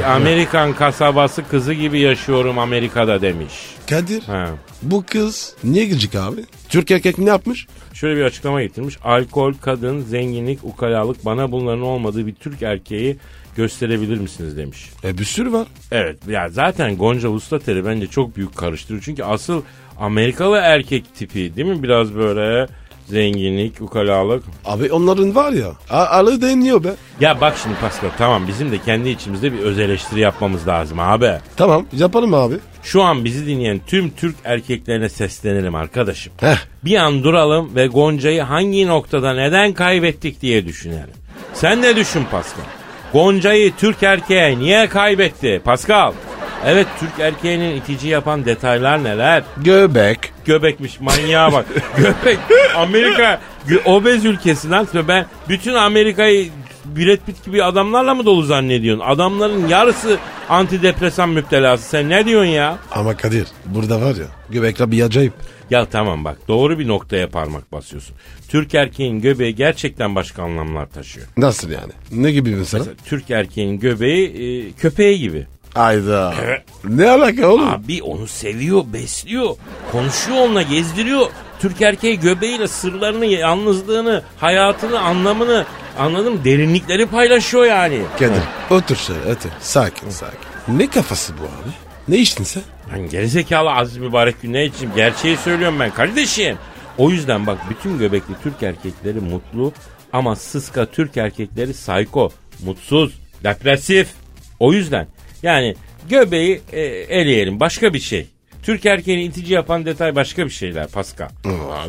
Speaker 3: Bir Amerikan kasabası kızı gibi yaşıyorum Amerika'da demiş.
Speaker 6: Kadir
Speaker 3: Ha.
Speaker 6: bu kız niye gidecek abi? Türk erkek ne yapmış?
Speaker 3: Şöyle bir açıklama getirmiş. Alkol, kadın, zenginlik, ukalalık bana bunların olmadığı bir Türk erkeği gösterebilir misiniz demiş.
Speaker 6: E bir sürü var.
Speaker 3: Evet ya zaten Gonca Ustateri bence çok büyük karıştırıyor. Çünkü asıl Amerikalı erkek tipi değil mi? Biraz böyle zenginlik, ukalalık.
Speaker 6: Abi onların var ya. A- alı deniyor be.
Speaker 3: Ya bak şimdi Pascal tamam bizim de kendi içimizde bir öz eleştiri yapmamız lazım abi.
Speaker 6: Tamam yaparım abi.
Speaker 3: Şu an bizi dinleyen tüm Türk erkeklerine seslenelim arkadaşım.
Speaker 6: Heh.
Speaker 3: Bir an duralım ve Gonca'yı hangi noktada neden kaybettik diye düşünelim. Sen ne düşün Pascal? Gonca'yı Türk erkeğe niye kaybetti Pascal? Evet Türk erkeğinin itici yapan detaylar neler?
Speaker 6: Göbek.
Speaker 3: Göbekmiş manyağa bak. Göbek Amerika gö- obez ülkesi lan. Ben bütün Amerika'yı Brad Pitt gibi adamlarla mı dolu zannediyorsun? Adamların yarısı antidepresan müptelası. Sen ne diyorsun ya?
Speaker 6: Ama Kadir burada var ya. Göbekle bir acayip.
Speaker 3: Ya tamam bak doğru bir noktaya parmak basıyorsun. Türk erkeğin göbeği gerçekten başka anlamlar taşıyor.
Speaker 6: Nasıl yani? Ne gibi mesela?
Speaker 3: Türk erkeğin göbeği e, köpeği gibi.
Speaker 6: Ayda. ne alaka oğlum?
Speaker 3: Abi onu seviyor, besliyor, konuşuyor onunla, gezdiriyor. Türk erkeği göbeğiyle sırlarını, yalnızlığını, hayatını, anlamını anladım derinlikleri paylaşıyor yani.
Speaker 6: Kadir otur şöyle otur. Sakin sakin. Ne kafası bu abi? Ne içtin sen?
Speaker 3: Lan gerizekalı Aziz Mübarek Güney için gerçeği söylüyorum ben kardeşim. O yüzden bak bütün göbekli Türk erkekleri mutlu ama sıska Türk erkekleri sayko, mutsuz, depresif. O yüzden yani göbeği e, eleyelim başka bir şey. Türk erkeğini itici yapan detay başka bir şeyler Pascal.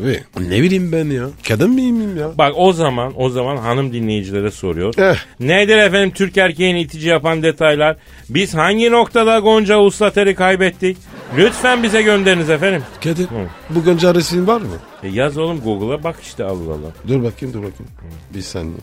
Speaker 6: Abi ne bileyim ben ya. Kadın mıyım ya?
Speaker 3: Bak o zaman o zaman hanım dinleyicilere soruyor.
Speaker 6: Eh.
Speaker 3: Nedir efendim Türk erkeğini itici yapan detaylar? Biz hangi noktada Gonca Uslater'i kaybettik? Lütfen bize gönderiniz efendim.
Speaker 6: Kadir bu Gonca resim var mı?
Speaker 3: E yaz oğlum Google'a bak işte Allah Allah.
Speaker 6: Dur bakayım dur bakayım. Bir saniye.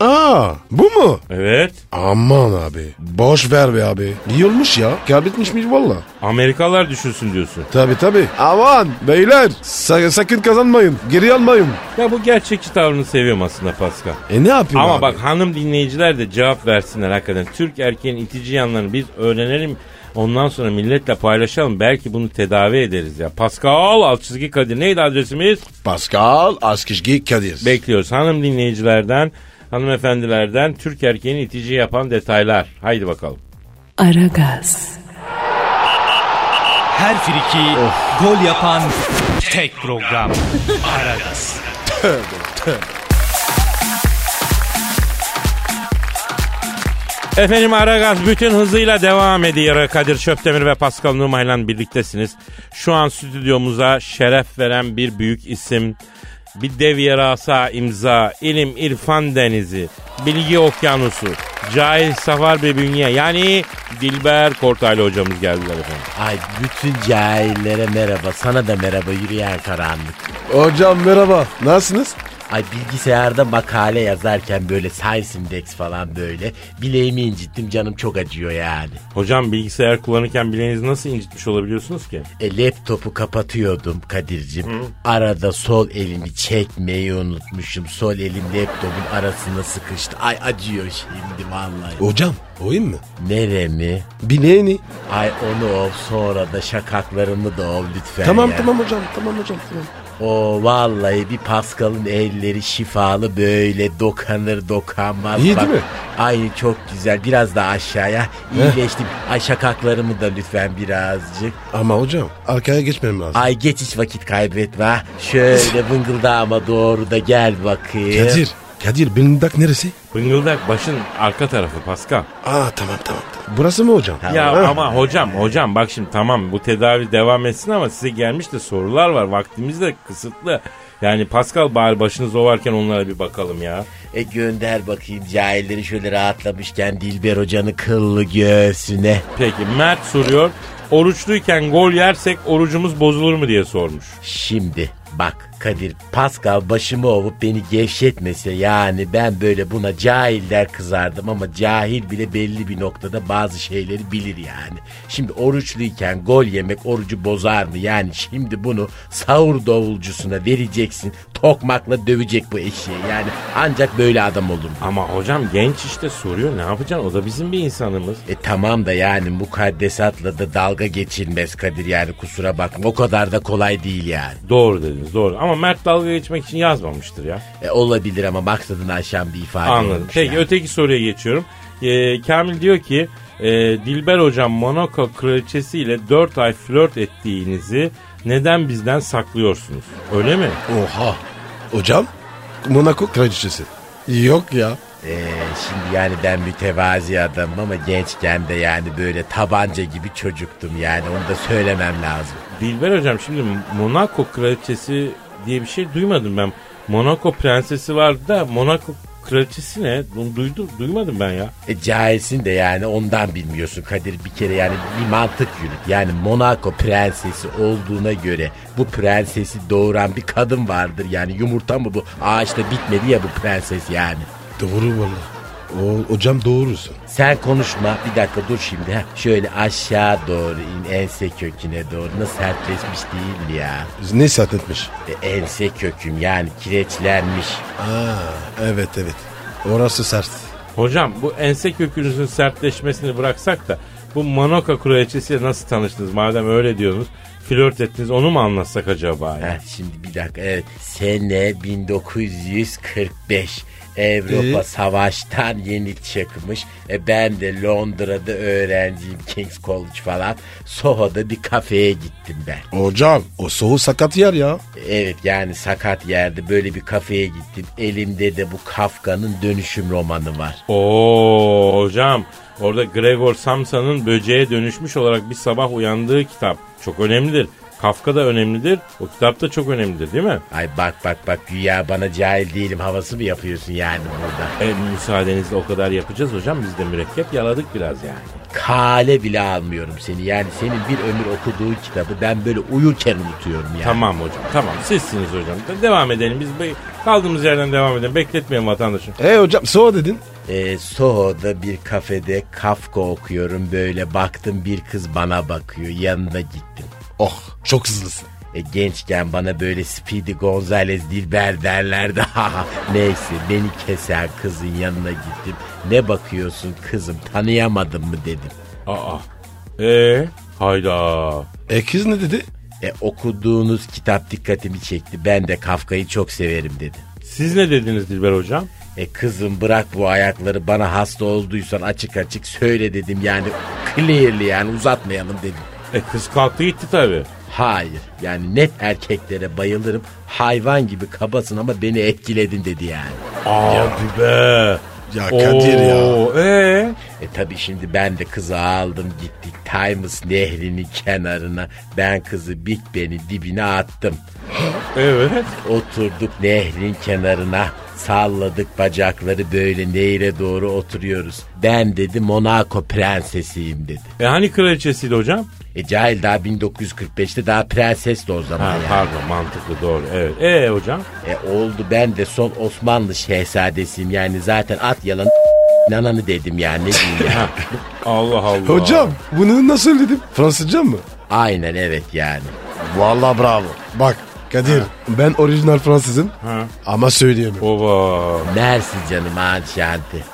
Speaker 6: Aa bu mu?
Speaker 3: Evet.
Speaker 6: Aman abi. Boş ver be abi. İyi olmuş ya. Kaybetmiş mi valla?
Speaker 3: Amerikalılar düşünsün diyorsun.
Speaker 6: Tabi tabi. Aman beyler. sa- sakın kazanmayın. Geri almayın.
Speaker 3: Ya bu gerçekçi tavrını seviyorum aslında Pascal.
Speaker 6: E ne yapayım
Speaker 3: Ama
Speaker 6: abi?
Speaker 3: bak hanım dinleyiciler de cevap versinler hakikaten. Türk erkeğin itici yanlarını biz öğrenelim. Ondan sonra milletle paylaşalım. Belki bunu tedavi ederiz ya. Pascal alt çizgi Kadir neydi adresimiz?
Speaker 6: Pascal Askizgi Kadir.
Speaker 3: Bekliyoruz hanım dinleyicilerden, hanımefendilerden Türk erkeğini itici yapan detaylar. Haydi bakalım.
Speaker 1: Aragaz,
Speaker 5: Her friki gol yapan tek program. Aragaz.
Speaker 3: Efendim Aragaz bütün hızıyla devam ediyor. Kadir Çöptemir ve Pascal Numay'la birliktesiniz. Şu an stüdyomuza şeref veren bir büyük isim. Bir dev yarasa imza, ilim irfan denizi, bilgi okyanusu, cahil safar bir bünye. Yani Dilber Kortaylı hocamız geldiler efendim.
Speaker 8: Ay bütün cahillere merhaba. Sana da merhaba yürüyen karanlık.
Speaker 6: Hocam merhaba. Nasılsınız?
Speaker 8: Ay bilgisayarda makale yazarken böyle Science Index falan böyle. Bileğimi incittim canım çok acıyor yani.
Speaker 3: Hocam bilgisayar kullanırken bileğinizi nasıl incitmiş olabiliyorsunuz ki?
Speaker 8: E, laptopu kapatıyordum Kadir'cim. Arada sol elimi çekmeyi unutmuşum. Sol elim laptopun arasına sıkıştı. Ay acıyor şimdi vallahi.
Speaker 6: Hocam oyun mu?
Speaker 8: Nere mi?
Speaker 6: Bileğini.
Speaker 8: Ay onu ov sonra da şakaklarımı da ov lütfen
Speaker 6: Tamam
Speaker 8: ya.
Speaker 6: tamam hocam. Tamam hocam. Tamam.
Speaker 8: O vallahi bir Pascal'ın elleri şifalı böyle dokanır dokanmaz.
Speaker 6: İyi
Speaker 8: Bak,
Speaker 6: değil mi?
Speaker 8: Ay çok güzel biraz daha aşağıya iyileştim. Ay şakaklarımı da lütfen birazcık.
Speaker 6: Ama hocam arkaya geçmem lazım.
Speaker 8: Ay geç hiç vakit kaybetme. ha. Şöyle bıngıldağıma doğru da gel bakayım.
Speaker 6: Kadir Kadir blindak neresi?
Speaker 3: Bıngıldak başın arka tarafı Pascal.
Speaker 6: Aa tamam tamam. tamam. Burası mı hocam?
Speaker 3: Ya
Speaker 6: Ha.
Speaker 3: ama hocam hocam bak şimdi tamam bu tedavi devam etsin ama size gelmiş de sorular var. Vaktimiz de kısıtlı. Yani Pascal bari başınız ovarken onlara bir bakalım ya.
Speaker 8: E gönder bakayım cahilleri şöyle rahatlamışken Dilber hocanın kıllı göğsüne.
Speaker 3: Peki Mert soruyor. Oruçluyken gol yersek orucumuz bozulur mu diye sormuş.
Speaker 8: Şimdi bak Kadir Pascal başımı ovup beni gevşetmese yani ben böyle buna cahiller kızardım ama cahil bile belli bir noktada bazı şeyleri bilir yani. Şimdi oruçluyken gol yemek orucu bozar mı? Yani şimdi bunu sahur davulcusuna vereceksin tokmakla dövecek bu eşeği yani ancak böyle adam olur.
Speaker 3: Ama hocam genç işte soruyor ne yapacaksın o da bizim bir insanımız.
Speaker 8: E tamam da yani mukaddesatla da dalga geçilmez Kadir yani kusura bakma o kadar da kolay değil yani.
Speaker 3: Doğru dediniz doğru ama Mert dalga geçmek için yazmamıştır ya.
Speaker 8: E, olabilir ama maksadını aşan bir ifade
Speaker 3: Anladım.
Speaker 8: olmuş
Speaker 3: Peki
Speaker 8: yani.
Speaker 3: öteki soruya geçiyorum. Ee, Kamil diyor ki e, Dilber hocam Monaco kraliçesiyle 4 ay flört ettiğinizi neden bizden saklıyorsunuz? Öyle mi?
Speaker 6: Oha. Hocam Monaco kraliçesi. Yok ya.
Speaker 8: E, şimdi yani ben mütevazi adamım ama gençken de yani böyle tabanca gibi çocuktum yani onu da söylemem lazım.
Speaker 3: Dilber hocam şimdi Monaco kraliçesi diye bir şey duymadım ben. Monaco prensesi vardı da Monaco kraliçesi ne? Bunu duydum, duymadım ben ya.
Speaker 8: E, cahilsin de yani ondan bilmiyorsun Kadir bir kere yani bir mantık yürüt. Yani Monaco prensesi olduğuna göre bu prensesi doğuran bir kadın vardır. Yani yumurta mı bu ağaçta bitmedi ya bu prenses yani.
Speaker 6: Doğru valla. O, hocam doğrusun.
Speaker 8: Sen konuşma bir dakika dur şimdi. Heh, şöyle aşağı doğru in ense köküne doğru. Nasıl sertleşmiş değil mi ya?
Speaker 6: Ne saat etmiş?
Speaker 8: E, ense köküm yani kireçlenmiş.
Speaker 6: Aa, evet evet. Orası sert.
Speaker 3: Hocam bu ense kökünüzün sertleşmesini bıraksak da bu Monaco kraliçesiyle nasıl tanıştınız? Madem öyle diyorsunuz flört ettiniz onu mu anlatsak acaba? Ya?
Speaker 8: Heh, şimdi bir dakika evet. Sene 1945. Avrupa savaştan yeni çıkmış. E ben de Londra'da öğrenciyim King's College falan. Soho'da bir kafeye gittim ben.
Speaker 6: Hocam o soğuk sakat yer ya.
Speaker 8: Evet yani sakat yerde böyle bir kafeye gittim. Elimde de bu Kafka'nın dönüşüm romanı var.
Speaker 3: Oo hocam orada Gregor Samsa'nın böceğe dönüşmüş olarak bir sabah uyandığı kitap çok önemlidir. Kafka da önemlidir. O kitap da çok önemlidir değil mi?
Speaker 8: Ay bak bak bak güya bana cahil değilim havası mı yapıyorsun yani burada?
Speaker 3: E, müsaadenizle o kadar yapacağız hocam. Biz de mürekkep yaladık biraz yani.
Speaker 8: Kale bile almıyorum seni yani senin bir ömür okuduğun kitabı ben böyle uyurken unutuyorum yani.
Speaker 3: Tamam hocam tamam sizsiniz hocam. De- devam edelim biz be- kaldığımız yerden devam edelim. Bekletmeyin vatandaşı.
Speaker 6: E hocam soğuk dedin.
Speaker 8: Ee, Soho'da bir kafede Kafka okuyorum böyle baktım bir kız bana bakıyor yanına gittim.
Speaker 6: Oh çok hızlısın.
Speaker 8: E, gençken bana böyle Speedy Gonzales Dilber derlerdi. Neyse beni kesen kızın yanına gittim. Ne bakıyorsun kızım tanıyamadın mı dedim.
Speaker 3: Aa. Eee? Hayda.
Speaker 6: E kız ne dedi?
Speaker 8: E, okuduğunuz kitap dikkatimi çekti. Ben de Kafka'yı çok severim dedi.
Speaker 3: Siz ne dediniz Dilber hocam?
Speaker 8: E kızım bırak bu ayakları bana hasta olduysan açık açık söyle dedim yani clearly yani uzatmayalım dedim.
Speaker 3: E kız kalktı gitti tabii.
Speaker 8: Hayır yani net erkeklere bayılırım hayvan gibi kabasın ama beni etkiledin dedi yani.
Speaker 3: Abi be.
Speaker 6: Ya Kadir ya.
Speaker 3: Eee?
Speaker 8: E tabi şimdi ben de kızı aldım gittik Times nehrinin kenarına. Ben kızı Big Ben'in dibine attım.
Speaker 3: Evet.
Speaker 8: Oturduk nehrin kenarına. Salladık bacakları böyle nehre doğru oturuyoruz. Ben dedi Monaco prensesiyim dedi.
Speaker 3: E hani kraliçesiydi hocam?
Speaker 8: E cahil daha 1945'te daha prensesti o zaman
Speaker 3: Ha,
Speaker 8: yani.
Speaker 3: Pardon mantıklı doğru evet. E hocam?
Speaker 8: E oldu ben de son Osmanlı şehzadesiyim yani zaten at yalan nananı dedim yani ne diyeyim ya.
Speaker 3: Allah Allah.
Speaker 6: Hocam bunu nasıl dedim? Fransızca mı?
Speaker 8: Aynen evet yani.
Speaker 6: Vallahi bravo. Bak Kadir ben orijinal Fransızım
Speaker 3: Ha.
Speaker 6: ama söyleyemem.
Speaker 3: Baba.
Speaker 8: Mersi canım anşanti.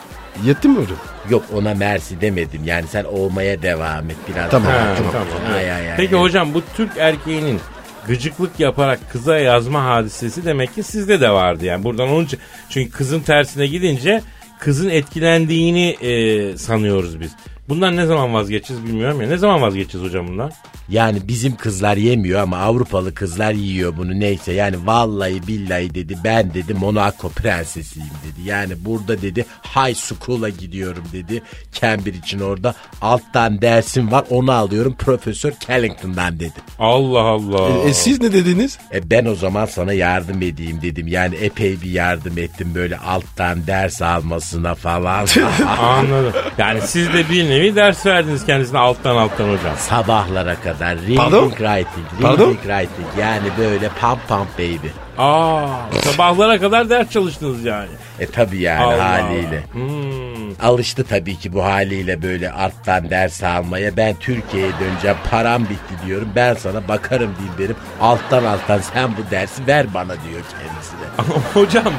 Speaker 6: Yetti mi hocam?
Speaker 8: Yok ona mersi demedim yani sen olmaya devam et biraz.
Speaker 6: Tamam,
Speaker 3: Ha,
Speaker 8: daha.
Speaker 3: tamam.
Speaker 8: Ay, ay, ay,
Speaker 3: Peki
Speaker 8: ay.
Speaker 3: hocam bu Türk erkeğinin gıcıklık yaparak kıza yazma hadisesi demek ki sizde de vardı yani buradan onun için çünkü kızın tersine gidince kızın etkilendiğini e, sanıyoruz biz. Bundan ne zaman vazgeçeceğiz bilmiyorum ya. Ne zaman vazgeçeceğiz hocam bundan?
Speaker 8: Yani bizim kızlar yemiyor ama Avrupalı kızlar yiyor bunu neyse. Yani vallahi billahi dedi ben dedi Monaco prensesiyim dedi. Yani burada dedi high school'a gidiyorum dedi. Cambridge'in orada alttan dersim var onu alıyorum Profesör Kellington'dan dedi.
Speaker 3: Allah Allah.
Speaker 4: E, e, siz ne dediniz?
Speaker 8: E ben o zaman sana yardım edeyim dedim. Yani epey bir yardım ettim böyle alttan ders almasına falan.
Speaker 3: Anladım. Yani siz de bir nevi ders verdiniz kendisine alttan alttan hocam.
Speaker 8: Sabahlara kadar reading
Speaker 4: Pardon?
Speaker 8: writing, reading
Speaker 4: Pardon?
Speaker 8: writing. Yani böyle pam pam baby.
Speaker 3: Aa, sabahlara kadar ders çalıştınız yani.
Speaker 8: E tabi yani
Speaker 3: Allah.
Speaker 8: haliyle.
Speaker 3: Hmm.
Speaker 8: Alıştı tabii ki bu haliyle böyle alttan ders almaya. Ben Türkiye'ye döneceğim param bitti diyorum. Ben sana bakarım bildirim. Alttan alttan sen bu dersi ver bana diyor kendisine.
Speaker 3: Ama hocam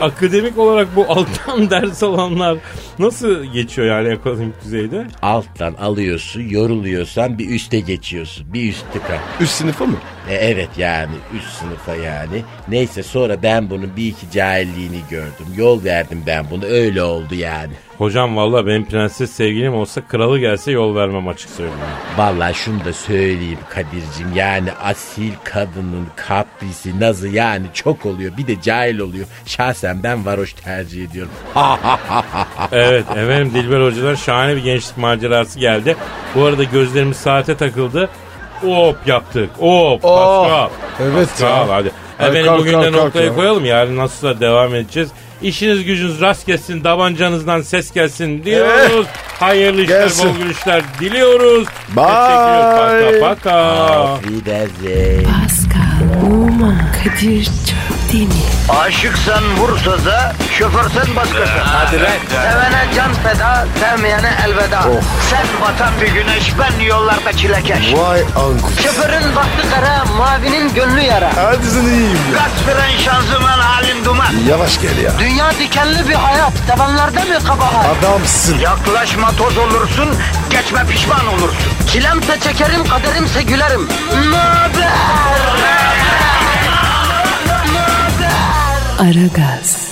Speaker 3: akademik olarak bu alttan ders alanlar nasıl geçiyor yani akademik düzeyde?
Speaker 8: Alttan alıyorsun yoruluyorsan bir üste geçiyorsun. Bir üst tıka.
Speaker 4: Üst sınıfa mı?
Speaker 8: E, evet yani üst sınıfa yani. Neyse sonra ben bunun bir iki cahilliğini gördüm. Yol verdim ben bunu öyle oldu yani.
Speaker 3: Hocam valla benim prenses sevgilim olsa kralı gelse yol vermem açık söylüyorum.
Speaker 8: Vallahi şunu da söyleyeyim Kadir'cim yani asil kadının kaprisi nazı yani çok oluyor bir de cahil oluyor. Şahsen ben varoş tercih ediyorum.
Speaker 3: Evet efendim Dilber Hoca'dan şahane bir gençlik macerası geldi. Bu arada gözlerimiz saate takıldı. Hop yaptık. Hop.
Speaker 4: Oh,
Speaker 3: Pascal.
Speaker 4: evet
Speaker 3: Pascal,
Speaker 4: ya.
Speaker 3: hadi.
Speaker 4: Hadi
Speaker 3: Efendim
Speaker 4: kalk,
Speaker 3: bugün de
Speaker 4: kalk, kalk
Speaker 3: noktayı
Speaker 4: ya.
Speaker 3: koyalım. Yarın nasılsa devam edeceğiz. İşiniz gücünüz rast gelsin, tabancanızdan ses gelsin diyoruz. Hayırlı işler,
Speaker 4: Gelsin.
Speaker 3: bol gülüşler diliyoruz.
Speaker 4: Bye.
Speaker 3: Teşekkür Paka paka.
Speaker 8: Wiedersehen.
Speaker 1: Pascal, Oman, Kadir çok değil mi?
Speaker 2: Aşıksan vursa da, şoförsen başkasın. Hadi Sevene can feda, sevmeyene elveda. Sen batan bir güneş, ben yollarda çilekeş.
Speaker 4: Vay anku.
Speaker 2: Şoförün baktı kara, mavinin gönlü yara.
Speaker 4: Hadi sen iyiyim ya.
Speaker 2: Kasperen şanzıman halin duman.
Speaker 4: Yavaş gel ya.
Speaker 2: Dünya dikenli bir hayat, sevenlerde mi kabahar?
Speaker 4: Adamsın.
Speaker 2: Yaklaşma toz olursun, geçme pişman olursun. Çilemse çekerim, kaderimse gülerim. Möber!
Speaker 1: Aragaz.